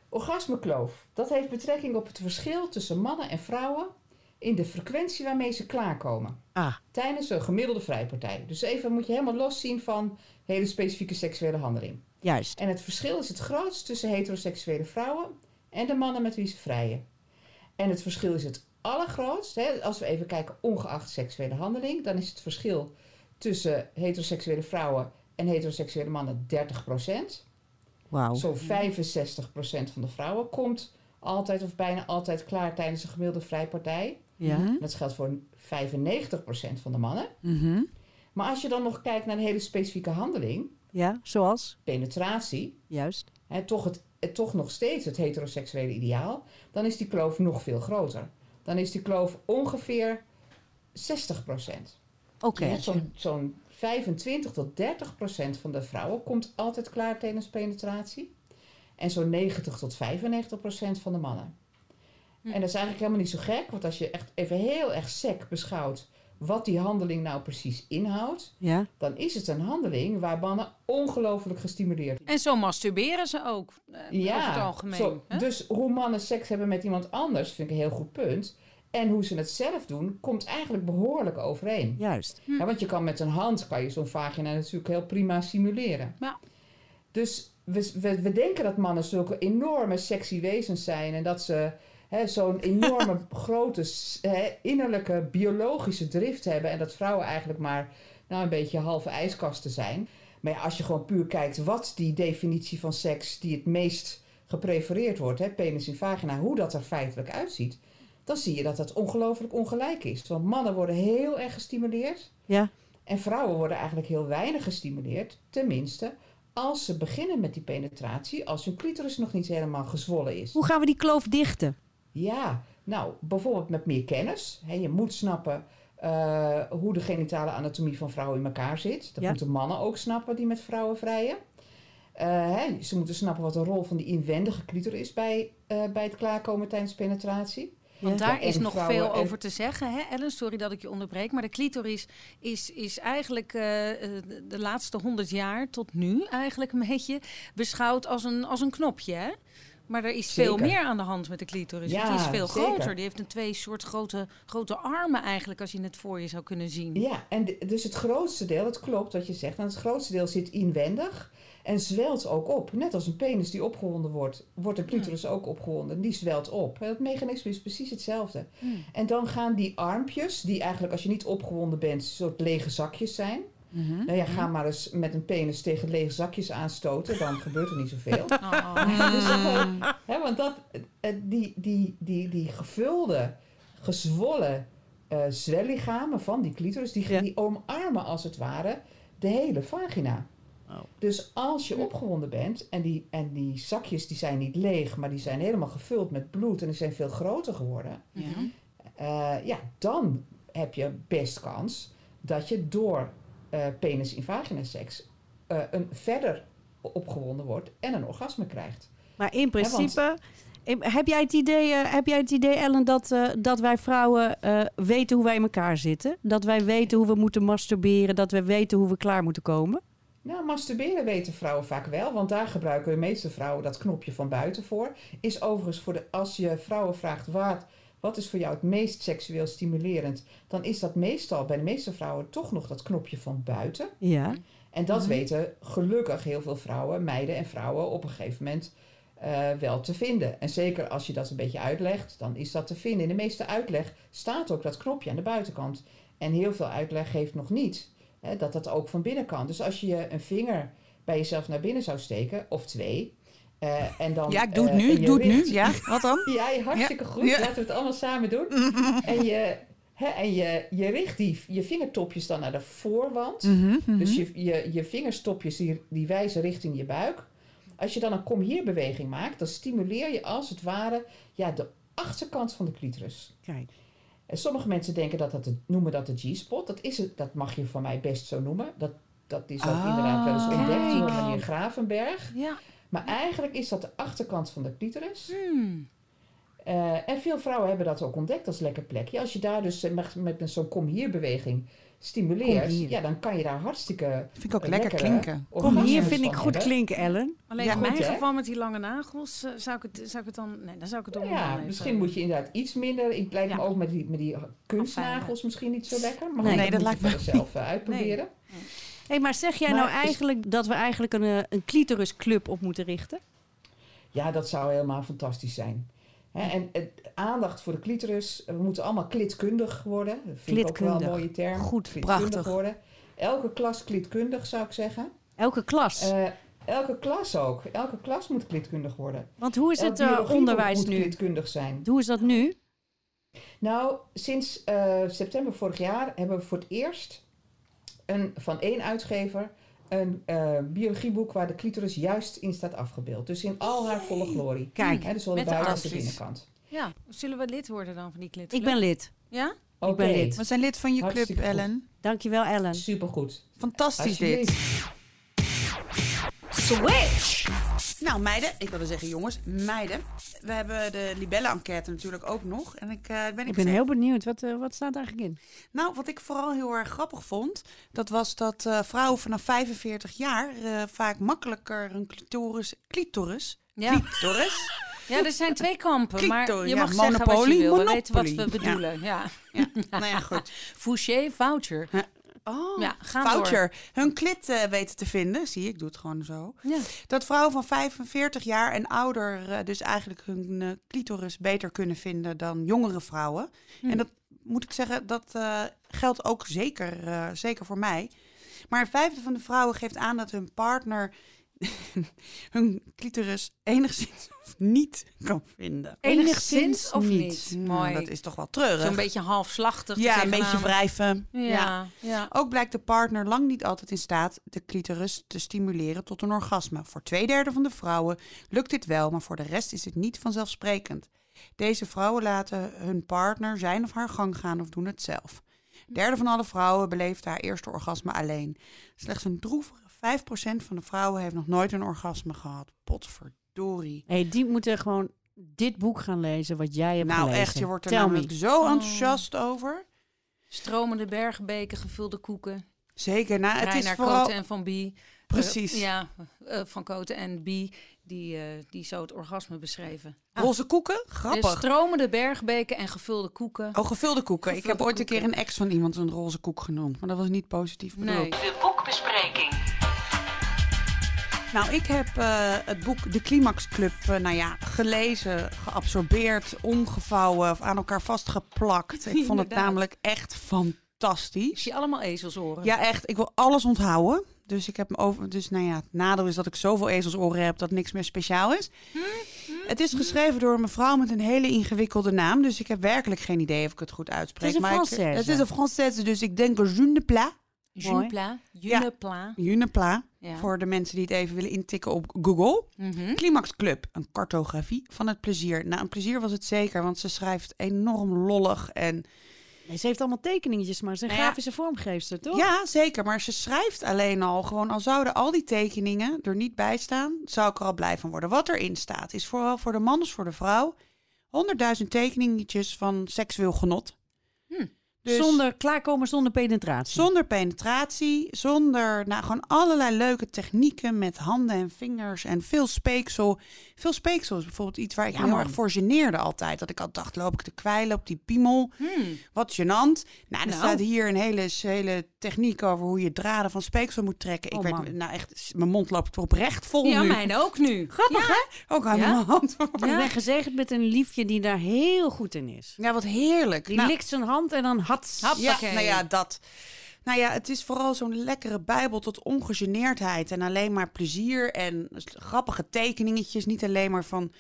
[SPEAKER 8] Orgasmekloof. Dat heeft betrekking op het verschil tussen mannen en vrouwen in de frequentie waarmee ze klaarkomen.
[SPEAKER 6] Ah.
[SPEAKER 8] Tijdens een gemiddelde vrijpartij. Dus even moet je helemaal los zien van hele specifieke seksuele handeling.
[SPEAKER 6] Juist.
[SPEAKER 8] En het verschil is het grootst tussen heteroseksuele vrouwen en de mannen met wie ze vrijen. En het verschil is het allergrootst, hè, als we even kijken ongeacht seksuele handeling, dan is het verschil tussen heteroseksuele vrouwen en heteroseksuele mannen 30%.
[SPEAKER 6] Wauw.
[SPEAKER 8] Zo'n 65% van de vrouwen komt altijd of bijna altijd klaar tijdens een gemiddelde vrijpartij.
[SPEAKER 6] Ja.
[SPEAKER 8] Dat geldt voor 95% van de mannen. Maar als je dan nog kijkt naar een hele specifieke handeling,
[SPEAKER 6] Ja, zoals?
[SPEAKER 8] penetratie,
[SPEAKER 6] Juist.
[SPEAKER 8] hè, toch, het, het- toch nog steeds het heteroseksuele ideaal, dan is die kloof nog veel groter. Dan is die kloof ongeveer 60 procent.
[SPEAKER 6] Oké.
[SPEAKER 8] Zo'n zo'n 25 tot 30 procent van de vrouwen komt altijd klaar tijdens penetratie. En zo'n 90 tot 95 procent van de mannen.
[SPEAKER 6] Hm.
[SPEAKER 8] En dat is eigenlijk helemaal niet zo gek, want als je echt even heel erg sec beschouwt wat die handeling nou precies inhoudt,
[SPEAKER 6] Ja.
[SPEAKER 8] dan is het een handeling waar mannen ongelooflijk gestimuleerd
[SPEAKER 3] En zo masturberen ze ook, eh, over het algemeen.
[SPEAKER 8] zo,
[SPEAKER 3] hè?
[SPEAKER 8] dus hoe mannen seks hebben met iemand anders vind ik een heel goed punt. En hoe ze het zelf doen, komt eigenlijk behoorlijk overeen.
[SPEAKER 6] Juist.
[SPEAKER 3] Hm.
[SPEAKER 8] Ja, want je kan met een hand kan je zo'n vagina natuurlijk heel prima simuleren.
[SPEAKER 3] Ja.
[SPEAKER 8] Dus we, we, we denken dat mannen zulke enorme sexy wezens zijn en dat ze hè, zo'n enorme grote s- hè, innerlijke biologische drift hebben en dat vrouwen eigenlijk maar nou, een beetje halve ijskasten zijn. Maar ja, als je gewoon puur kijkt wat die definitie van seks die het meest geprefereerd wordt, hè, penis in vagina, hoe dat er feitelijk uitziet, dan zie je dat dat ongelooflijk ongelijk is. Want mannen worden heel erg gestimuleerd
[SPEAKER 6] Ja.
[SPEAKER 8] en vrouwen worden eigenlijk heel weinig gestimuleerd, tenminste als ze beginnen met die penetratie, als hun clitoris nog niet helemaal gezwollen is.
[SPEAKER 6] Hoe gaan we die kloof dichten?
[SPEAKER 8] Ja, nou, bijvoorbeeld met meer kennis. Hè, je moet snappen eh, hoe de genitale anatomie van vrouwen in elkaar zit. Dat
[SPEAKER 6] Ja.
[SPEAKER 8] moeten mannen ook snappen die met vrouwen vrijen. Eh, hè, ze moeten snappen wat de rol van die inwendige clitor is bij, eh, bij het klaarkomen tijdens penetratie.
[SPEAKER 3] Want
[SPEAKER 8] Ja.
[SPEAKER 3] daar
[SPEAKER 8] Ja,
[SPEAKER 3] is
[SPEAKER 8] en
[SPEAKER 3] nog
[SPEAKER 8] vrouwen
[SPEAKER 3] veel
[SPEAKER 8] en-
[SPEAKER 3] over te zeggen, hè Ellen? Sorry dat ik je onderbreek. Maar de clitoris is, is eigenlijk eh, eh, de laatste honderd jaar tot nu eigenlijk een beetje beschouwd als een, als een knopje, hè? Maar er is veel
[SPEAKER 8] Zeker.
[SPEAKER 3] meer aan de hand met de clitoris.
[SPEAKER 8] Ja,
[SPEAKER 3] Die is veel
[SPEAKER 8] zeker.
[SPEAKER 3] groter. Die heeft een twee soort grote, grote armen eigenlijk, als je het voor je zou kunnen zien.
[SPEAKER 8] Ja, en d- dus het grootste deel, dat klopt wat je zegt, en het grootste deel zit inwendig en zwelt ook op. Net als een penis die opgewonden wordt, wordt een clitoris ook opgewonden. Die zwelt op. Het mechanisme is precies hetzelfde. En dan gaan die armpjes, die eigenlijk als je niet opgewonden bent, een soort lege zakjes zijn. Nou ja, ga maar eens met een penis tegen lege zakjes aanstoten, dan gebeurt er niet zoveel. Dus dat gewoon- hè, want dat, eh, die, die, die, die gevulde, gezwollen eh zwellichamen van die clitoris, die,
[SPEAKER 6] Ja.
[SPEAKER 8] die omarmen als het ware de hele vagina. Dus als je opgewonden bent en die, en die zakjes die zijn niet leeg, maar die zijn helemaal gevuld met bloed en die zijn veel groter geworden, eh, ja, dan heb je best kans dat je door eh, penis in vagina seks eh, een verder opgewonden wordt en een orgasme krijgt.
[SPEAKER 6] Maar in
[SPEAKER 8] want-
[SPEAKER 6] principe. in- Heb jij, het idee, eh, heb jij het idee, Ellen, dat, eh, dat wij vrouwen eh, weten hoe wij in elkaar zitten? Dat wij weten hoe we moeten masturberen? Dat we weten hoe we klaar moeten komen?
[SPEAKER 8] Nou, masturberen weten vrouwen vaak wel, want daar gebruiken de meeste vrouwen dat knopje van buiten voor. Is overigens voor de, als je vrouwen vraagt wat, wat is voor jou het meest seksueel stimulerend, dan is dat meestal bij de meeste vrouwen toch nog dat knopje van buiten.
[SPEAKER 6] Ja.
[SPEAKER 8] En dat
[SPEAKER 5] Mhm.
[SPEAKER 8] weten gelukkig heel veel vrouwen, meiden en vrouwen op een gegeven moment eh, wel te vinden. En zeker als je dat een beetje uitlegt, dan is dat te vinden. In de meeste uitleg staat ook dat knopje aan de buitenkant. En heel veel uitleg geeft nog niet hè, dat dat ook van binnen kan. Dus als je je een vinger bij jezelf naar binnen zou steken, of twee. eh, en dan,
[SPEAKER 5] Ja, ik doe het
[SPEAKER 8] eh,
[SPEAKER 5] nu,
[SPEAKER 8] en
[SPEAKER 5] ik
[SPEAKER 8] je
[SPEAKER 5] doe het nu.
[SPEAKER 8] richt-
[SPEAKER 5] Ja, wat dan?
[SPEAKER 8] ja, je- hartstikke goed.
[SPEAKER 5] Ja.
[SPEAKER 8] Laten we het allemaal samen doen. en je, hè, en je, je richt die, je vingertopjes dan naar de voorwand.
[SPEAKER 5] Mhm.
[SPEAKER 6] Mhm,
[SPEAKER 8] Dus je, je, je vingerstopjes die, die wijzen richting je buik. Als je dan een kom hier beweging maakt, dan stimuleer je als het ware ja, de achterkant van de clitoris.
[SPEAKER 6] Kijk.
[SPEAKER 8] En sommige mensen denken dat dat de, noemen dat de G-spot. Dat, is het, dat mag je
[SPEAKER 6] Ah,
[SPEAKER 8] van mij best zo noemen. Dat, dat is ook inderdaad wel eens ontdekt door meneer Gravenberg.
[SPEAKER 3] Ja.
[SPEAKER 8] Maar eigenlijk is dat de achterkant van de clitoris.
[SPEAKER 3] Hmm.
[SPEAKER 8] Eh, en veel vrouwen hebben dat ook ontdekt als lekker plekje. Als je daar dus eh, met, met een zo'n kom hier beweging stimuleert,
[SPEAKER 6] Kom hier.
[SPEAKER 8] ja, dan kan je daar hartstikke.
[SPEAKER 5] Vind ik ook
[SPEAKER 8] Eh,
[SPEAKER 5] lekker
[SPEAKER 8] lekker, hè?
[SPEAKER 5] klinken.
[SPEAKER 6] Kom hier,
[SPEAKER 8] orgasmes
[SPEAKER 6] vind ik
[SPEAKER 8] van
[SPEAKER 6] goed
[SPEAKER 8] hebben.
[SPEAKER 6] klinken, Ellen.
[SPEAKER 3] Alleen
[SPEAKER 5] Ja,
[SPEAKER 3] in
[SPEAKER 8] goed,
[SPEAKER 3] mijn
[SPEAKER 8] hè?
[SPEAKER 3] geval met die lange nagels eh, zou, ik het, zou ik het dan... Nee, dan zou ik het om
[SPEAKER 8] Ja, misschien moet je inderdaad iets minder. Ik lijkt me
[SPEAKER 3] Ja.
[SPEAKER 8] ook met die, met die kunstnagels misschien niet zo lekker. Maar
[SPEAKER 6] Nee,
[SPEAKER 8] goed,
[SPEAKER 5] dat
[SPEAKER 8] moet
[SPEAKER 5] lijkt
[SPEAKER 8] je verder zelf eh, uitproberen.
[SPEAKER 6] Hey, maar zeg jij
[SPEAKER 8] Maar
[SPEAKER 6] nou
[SPEAKER 8] is-
[SPEAKER 6] eigenlijk dat we eigenlijk een, eh, een clitorisclub op moeten richten?
[SPEAKER 8] Ja, dat zou helemaal fantastisch zijn. Hè, en eh, aandacht voor de clitoris. eh, We moeten allemaal klitkundig worden. Dat vind ik ook wel
[SPEAKER 6] Klitkundig.
[SPEAKER 8] een mooie term.
[SPEAKER 6] Goed,
[SPEAKER 8] Klitkundig
[SPEAKER 5] prachtig.
[SPEAKER 8] worden. Elke klas klitkundig zou ik zeggen.
[SPEAKER 6] Elke klas.
[SPEAKER 8] Eh, elke klas ook. Elke klas moet klitkundig worden.
[SPEAKER 6] Want hoe is
[SPEAKER 8] Elk
[SPEAKER 6] het eh,
[SPEAKER 8] biologieboek
[SPEAKER 6] onderwijs
[SPEAKER 8] moet
[SPEAKER 6] nu? Oh,
[SPEAKER 8] klitkundig zijn.
[SPEAKER 6] Hoe is dat nu?
[SPEAKER 8] Nou, sinds eh, september vorig jaar hebben we voor het eerst een, van één uitgever een eh, biologieboek waar de clitoris juist in staat afgebeeld. Dus in al haar volle glorie.
[SPEAKER 6] Kijk,
[SPEAKER 8] Hè, dus zowel de
[SPEAKER 3] met de
[SPEAKER 8] buiten als de
[SPEAKER 5] armpjes.
[SPEAKER 8] binnenkant.
[SPEAKER 3] Ja, zullen we lid worden dan van die
[SPEAKER 6] ik
[SPEAKER 3] klitclub?
[SPEAKER 6] ben lid.
[SPEAKER 3] Ja?
[SPEAKER 8] Oké,
[SPEAKER 6] lid.
[SPEAKER 5] We zijn lid van je club,
[SPEAKER 8] Hartstikke goed.
[SPEAKER 5] Ellen.
[SPEAKER 6] Dankjewel, Ellen.
[SPEAKER 8] Supergoed.
[SPEAKER 5] Fantastisch dit.
[SPEAKER 8] Alsjeblieft.
[SPEAKER 5] Nou, meiden, ik wilde zeggen jongens, meiden. We hebben de libellen-enquête natuurlijk ook nog. En ik, eh, ben
[SPEAKER 6] Ik
[SPEAKER 5] ik
[SPEAKER 6] ben
[SPEAKER 5] zeker-
[SPEAKER 6] heel benieuwd. Wat, eh, wat staat er eigenlijk in?
[SPEAKER 5] Nou, wat ik vooral heel erg grappig vond, dat was dat eh, vrouwen vanaf 45 jaar eh, vaak makkelijker een clitoris, clitoris,
[SPEAKER 3] Ja.
[SPEAKER 5] clitoris,
[SPEAKER 3] ja, er zijn twee kampen, maar
[SPEAKER 5] Clitor,
[SPEAKER 3] je
[SPEAKER 5] ja,
[SPEAKER 3] mag zeggen wat je
[SPEAKER 5] monopolie,
[SPEAKER 3] wil. We weten wat
[SPEAKER 5] monopolie.
[SPEAKER 3] we
[SPEAKER 5] Ja.
[SPEAKER 3] bedoelen. Ja.
[SPEAKER 5] nou ja goed,
[SPEAKER 3] Fouché voucher.
[SPEAKER 5] Ja.
[SPEAKER 3] Oh, ja, gaan
[SPEAKER 5] voucher, hun klit eh, weten te vinden. Zie je, ik doe het gewoon zo.
[SPEAKER 3] door. Ja.
[SPEAKER 5] Dat vrouwen van 45 jaar en ouder eh, dus eigenlijk hun eh, clitoris beter kunnen vinden dan jongere vrouwen. En
[SPEAKER 3] Hm.
[SPEAKER 5] dat moet ik zeggen, dat eh, geldt ook zeker, eh, zeker voor mij. Maar een vijfde van de vrouwen geeft aan dat hun partner hun clitoris enigszins of niet kan vinden.
[SPEAKER 3] Enigszins of niet?
[SPEAKER 5] Nou,
[SPEAKER 3] Mooi.
[SPEAKER 5] Dat is toch wel treurig.
[SPEAKER 3] Zo'n beetje halfslachtig. te
[SPEAKER 5] ja, een
[SPEAKER 3] tegenaan.
[SPEAKER 5] beetje wrijven.
[SPEAKER 3] nou, Ja, ja.
[SPEAKER 5] Ook blijkt de partner lang niet altijd in staat de clitoris te stimuleren tot een orgasme. Voor twee derde van de vrouwen lukt dit wel, maar voor de rest is het niet vanzelfsprekend. Deze vrouwen laten hun partner zijn of haar gang gaan of doen het zelf. Een derde van alle vrouwen beleeft haar eerste orgasme alleen. Slechts een droevige 5% van de vrouwen heeft nog nooit een orgasme gehad. Potverdorie.
[SPEAKER 6] hey, die moeten gewoon dit boek gaan lezen wat jij hebt
[SPEAKER 5] Nou
[SPEAKER 6] gelezen.
[SPEAKER 5] echt, je wordt er
[SPEAKER 6] Tell
[SPEAKER 5] namelijk
[SPEAKER 6] me.
[SPEAKER 5] zo
[SPEAKER 3] Oh.
[SPEAKER 5] enthousiast over.
[SPEAKER 3] Stromende bergbeken, gevulde koeken.
[SPEAKER 5] Zeker, nou het is
[SPEAKER 3] Reiner
[SPEAKER 5] vooral...
[SPEAKER 3] Koten en Van Bie.
[SPEAKER 5] Precies.
[SPEAKER 3] Eh, ja, eh, Van Koten en Bie, die, eh, die zo het orgasme beschreven.
[SPEAKER 5] Roze koeken?
[SPEAKER 3] Dus
[SPEAKER 5] Grappig.
[SPEAKER 3] stromende bergbeken en gevulde koeken.
[SPEAKER 5] Oh, gevulde koeken. ik heb
[SPEAKER 3] Gevulde
[SPEAKER 5] ooit een keer een ex van iemand een roze koek genoemd. Maar dat was niet positief bedoeld.
[SPEAKER 3] nee.
[SPEAKER 5] Nou, ik heb eh, het boek De Climax Club eh, nou ja, gelezen, geabsorbeerd, omgevouwen of aan elkaar vastgeplakt. Ik vond het
[SPEAKER 3] Inderdaad.
[SPEAKER 5] namelijk echt
[SPEAKER 3] Ik
[SPEAKER 5] fantastisch.
[SPEAKER 3] zie allemaal ezelsoren.
[SPEAKER 5] Ja, echt. Ik wil alles onthouden. Dus ik heb me over. Dus nou ja, het nadeel is dat ik zoveel ezelsoren heb dat niks meer speciaal is.
[SPEAKER 6] Hm?
[SPEAKER 5] Het is geschreven door een mevrouw met een hele ingewikkelde naam. Dus ik heb werkelijk geen idee of ik het goed uitspreek.
[SPEAKER 6] Het is een
[SPEAKER 5] maar ik-
[SPEAKER 6] Française.
[SPEAKER 5] het is een Française, dus ik denk een June de Pla.
[SPEAKER 6] mooi.
[SPEAKER 3] Junepla. Junepla.
[SPEAKER 5] Junepla,
[SPEAKER 3] Ja.
[SPEAKER 5] voor de mensen die het even willen intikken op Google.
[SPEAKER 3] Mhm.
[SPEAKER 5] Climax Club, een cartografie van het plezier. Nou, een plezier was het zeker, want ze schrijft enorm lollig. En...
[SPEAKER 6] Nee, Ze heeft allemaal tekeningetjes, maar ze is een
[SPEAKER 5] Nou ja.
[SPEAKER 6] grafische vormgeefster, toch?
[SPEAKER 5] Ja, zeker, maar ze schrijft alleen al, gewoon al zouden al die tekeningen er niet bij staan, zou ik er al blij van worden. Wat erin staat, is vooral voor de man als voor de vrouw, honderdduizend tekeningetjes van seksueel genot. Dus-
[SPEAKER 6] Zonder klaarkomen, zonder penetratie.
[SPEAKER 5] Zonder penetratie, zonder nou, gewoon allerlei leuke technieken met handen en vingers en veel speeksel. Veel speeksel is bijvoorbeeld iets waar ik
[SPEAKER 6] Ja,
[SPEAKER 5] me heel
[SPEAKER 6] man.
[SPEAKER 5] erg voor geneerde altijd. Dat ik al dacht, loop ik te kwijlen op die piemel?
[SPEAKER 3] Hmm.
[SPEAKER 5] Wat gênant. Nou, er
[SPEAKER 3] Nou.
[SPEAKER 5] staat hier een hele, hele techniek over hoe je draden van speeksel moet trekken.
[SPEAKER 6] Oh,
[SPEAKER 5] ik
[SPEAKER 6] man.
[SPEAKER 5] werd, nou echt, mijn mond loopt oprecht vol
[SPEAKER 3] Ja,
[SPEAKER 5] nu.
[SPEAKER 3] mijn ook nu.
[SPEAKER 5] Grappig, hè? Ook aan
[SPEAKER 3] Ja.
[SPEAKER 5] mijn hand.
[SPEAKER 6] Ik ben gezegend met een liefje die daar heel goed in is.
[SPEAKER 5] Ja, wat heerlijk.
[SPEAKER 6] Die
[SPEAKER 5] Nou,
[SPEAKER 6] likt zijn hand en dan hats.
[SPEAKER 3] Hap.
[SPEAKER 5] Ja,
[SPEAKER 3] Hoppakee.
[SPEAKER 5] nou ja, dat. Nou ja, het is vooral zo'n lekkere bijbel tot ongegeneerdheid en alleen maar plezier en s- grappige tekeningetjes. Niet alleen maar van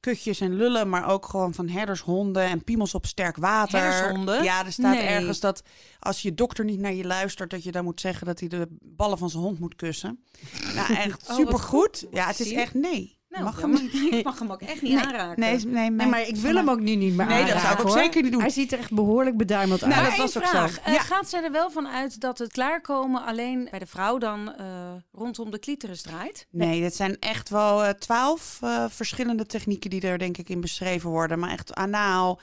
[SPEAKER 5] kutjes en lullen, maar ook gewoon van herdershonden en piemels op sterk water.
[SPEAKER 3] Herdershonden?
[SPEAKER 5] Ja, er staat
[SPEAKER 3] Nee.
[SPEAKER 5] ergens dat als je dokter niet naar je luistert, dat je dan moet zeggen dat hij de ballen van zijn hond moet kussen. Nou, echt
[SPEAKER 3] Oh, wat
[SPEAKER 5] supergoed.
[SPEAKER 3] goed.
[SPEAKER 5] Ja, het is
[SPEAKER 3] Zie.
[SPEAKER 5] echt nee. mag
[SPEAKER 3] ja,
[SPEAKER 5] hem niet.
[SPEAKER 3] maar- Nou, ik mag hem ook echt niet aanraken.
[SPEAKER 5] Nee, Nou, nee,
[SPEAKER 6] Nee,
[SPEAKER 5] mijn- Ah,
[SPEAKER 6] maar ik wil hem ook nu niet meer
[SPEAKER 5] Nee, dat zou ik
[SPEAKER 6] aanraken,
[SPEAKER 5] ook
[SPEAKER 6] hoor.
[SPEAKER 5] zeker niet doen.
[SPEAKER 6] Hij ziet er echt behoorlijk beduimeld uit.
[SPEAKER 5] Nou,
[SPEAKER 3] maar
[SPEAKER 5] dat
[SPEAKER 3] één
[SPEAKER 5] was ook
[SPEAKER 3] vraag.
[SPEAKER 5] zo.
[SPEAKER 3] Eh,
[SPEAKER 5] Ja.
[SPEAKER 3] Gaat zij er wel van uit dat het klaarkomen alleen bij de vrouw dan eh, rondom de clitoris draait?
[SPEAKER 5] Nee, dat zijn echt wel eh, twaalf verschillende technieken die er denk ik in beschreven worden. Maar echt anaal,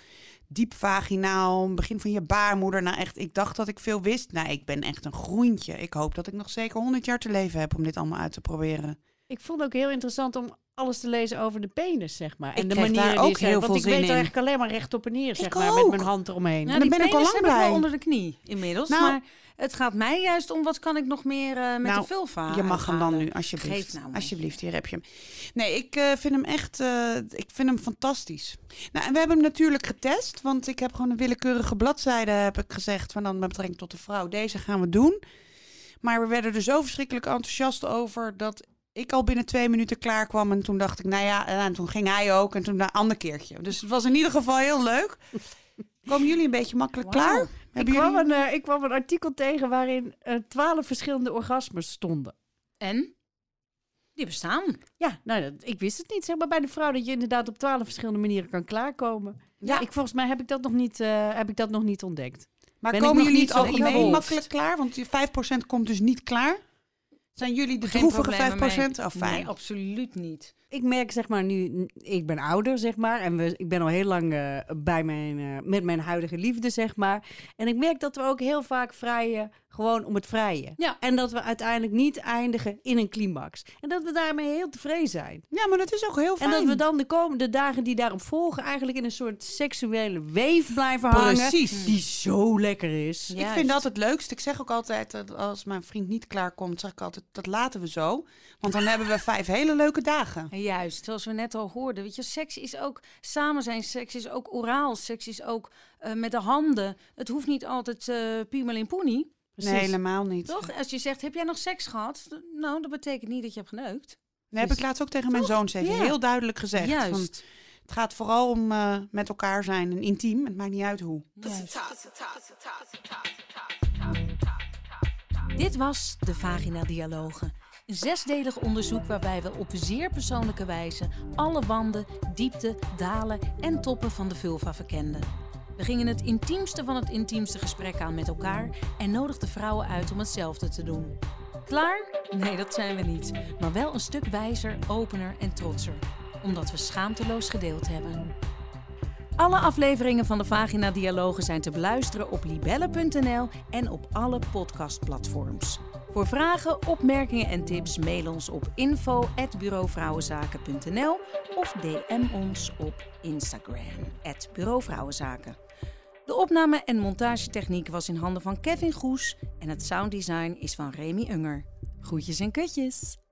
[SPEAKER 5] diep vaginaal, begin van je baarmoeder. Nou echt, ik dacht dat ik veel wist. Nee, ik ben echt een groentje. Ik hoop dat ik nog zeker 100 jaar te leven heb om dit allemaal uit te proberen.
[SPEAKER 6] Ik vond het ook heel interessant om alles te lezen over de penis, zeg maar. En
[SPEAKER 5] Ik
[SPEAKER 6] de
[SPEAKER 5] kreeg
[SPEAKER 6] manier
[SPEAKER 5] daar ook heel
[SPEAKER 6] Want
[SPEAKER 5] veel
[SPEAKER 6] ik
[SPEAKER 5] zin
[SPEAKER 6] weet
[SPEAKER 5] in.
[SPEAKER 6] er eigenlijk alleen maar recht op en neer, zeg
[SPEAKER 5] Ik
[SPEAKER 6] maar,
[SPEAKER 5] ook.
[SPEAKER 6] met mijn hand eromheen.
[SPEAKER 3] Nou,
[SPEAKER 5] dan ben ik al
[SPEAKER 3] penis
[SPEAKER 5] lang
[SPEAKER 3] heb ik
[SPEAKER 5] blij.
[SPEAKER 3] wel onder de knie inmiddels.
[SPEAKER 5] Nou.
[SPEAKER 3] maar het gaat mij juist om wat kan ik nog meer eh, met
[SPEAKER 5] Nou,
[SPEAKER 3] de vulva
[SPEAKER 5] je mag hem dan
[SPEAKER 3] uithalen.
[SPEAKER 5] nu, alsjeblieft.
[SPEAKER 3] Geef nou maar.
[SPEAKER 5] alsjeblieft, hier heb je hem. Nee, ik eh, vind hem echt, eh, ik vind hem fantastisch. Nou, en we hebben hem natuurlijk getest, want ik heb gewoon een willekeurige bladzijde, heb ik gezegd, van dan met betrekking tot de vrouw. Deze gaan we doen. Maar we werden er zo verschrikkelijk enthousiast over dat ik al binnen twee minuten klaar kwam. En toen dacht ik, nou ja, en toen ging hij ook. En toen een ander keertje. Dus het was in ieder geval heel leuk. Komen jullie een beetje makkelijk
[SPEAKER 3] Wauw.
[SPEAKER 5] klaar?
[SPEAKER 6] Ik,
[SPEAKER 5] Hebben
[SPEAKER 6] kwam
[SPEAKER 5] jullie-
[SPEAKER 6] een, eh, ik kwam een artikel tegen waarin eh, twaalf verschillende orgasmes stonden.
[SPEAKER 3] En? Die bestaan.
[SPEAKER 6] Ja, nou, dat, ik wist het niet, zeg maar, bij de vrouw, dat je inderdaad op twaalf verschillende manieren kan klaarkomen.
[SPEAKER 5] Ja.
[SPEAKER 6] Ik, volgens mij heb ik dat nog niet, eh, heb ik dat nog niet ontdekt.
[SPEAKER 5] Maar
[SPEAKER 6] Ben ik
[SPEAKER 5] komen
[SPEAKER 6] nog
[SPEAKER 5] jullie
[SPEAKER 6] niet
[SPEAKER 5] het
[SPEAKER 6] zo
[SPEAKER 5] algemeen
[SPEAKER 6] gevolgd.
[SPEAKER 5] makkelijk klaar? Want die 5% komt dus niet klaar. Zijn jullie de
[SPEAKER 3] Geen
[SPEAKER 5] droevige 5%?
[SPEAKER 3] problemen mee.
[SPEAKER 5] Oh, fijn.
[SPEAKER 3] Nee, absoluut niet.
[SPEAKER 6] ik merk zeg maar nu, ik ben ouder zeg maar en we, ik ben al heel lang eh, bij mijn, eh, met mijn huidige liefde zeg maar. En ik merk dat we ook heel vaak vrijen gewoon om het vrijen.
[SPEAKER 3] Ja.
[SPEAKER 6] En dat we uiteindelijk niet eindigen in een climax. En dat we daarmee heel tevreden zijn.
[SPEAKER 5] Ja, maar dat is ook heel fijn.
[SPEAKER 6] En dat we dan de komende dagen die daarop volgen eigenlijk in een soort seksuele weef blijven hangen.
[SPEAKER 5] Precies.
[SPEAKER 6] Die zo lekker is.
[SPEAKER 5] Ik vind dat het leukst. Ik zeg ook altijd, dat als mijn vriend niet klaar komt, zeg ik altijd, dat laten we zo. Want dan hebben we vijf hele leuke dagen.
[SPEAKER 3] En Juist, zoals we net al hoorden. Weet je, seks is ook samen zijn, seks is ook oraal, seks is ook eh, met de handen. Het hoeft niet altijd eh piemel in poenie,
[SPEAKER 5] Nee, helemaal niet.
[SPEAKER 3] toch? Als je zegt, heb jij nog seks gehad? D- Nou, dat betekent niet dat je hebt geneukt.
[SPEAKER 5] Dat heb ik laatst ook tegen mijn zoons even
[SPEAKER 3] Ja.
[SPEAKER 5] heel duidelijk gezegd.
[SPEAKER 3] Juist.
[SPEAKER 5] Van, het gaat vooral om eh, met elkaar zijn en intiem. Het maakt niet uit hoe.
[SPEAKER 3] Dit was de Vagina Dialogen. Een zesdelig onderzoek waarbij we op zeer persoonlijke wijze alle wanden, diepte, dalen en toppen van de vulva verkenden. We gingen het intiemste van het intiemste gesprek aan met elkaar en nodigden vrouwen uit om hetzelfde te doen. Klaar? Nee, dat zijn we niet. Maar wel een stuk wijzer, opener en trotser. Omdat we schaamteloos gedeeld hebben. Alle afleveringen van de Vagina Dialogen zijn te beluisteren op libelle.nl en op alle podcastplatforms. Voor vragen, opmerkingen en tips mail ons op info@bureauvrouwenzaken.nl of DM ons op Instagram @bureauvrouwenzaken. De opname en montagetechniek was in handen van Kevin Goes en het sounddesign is van Remy Unger. Groetjes en kutjes.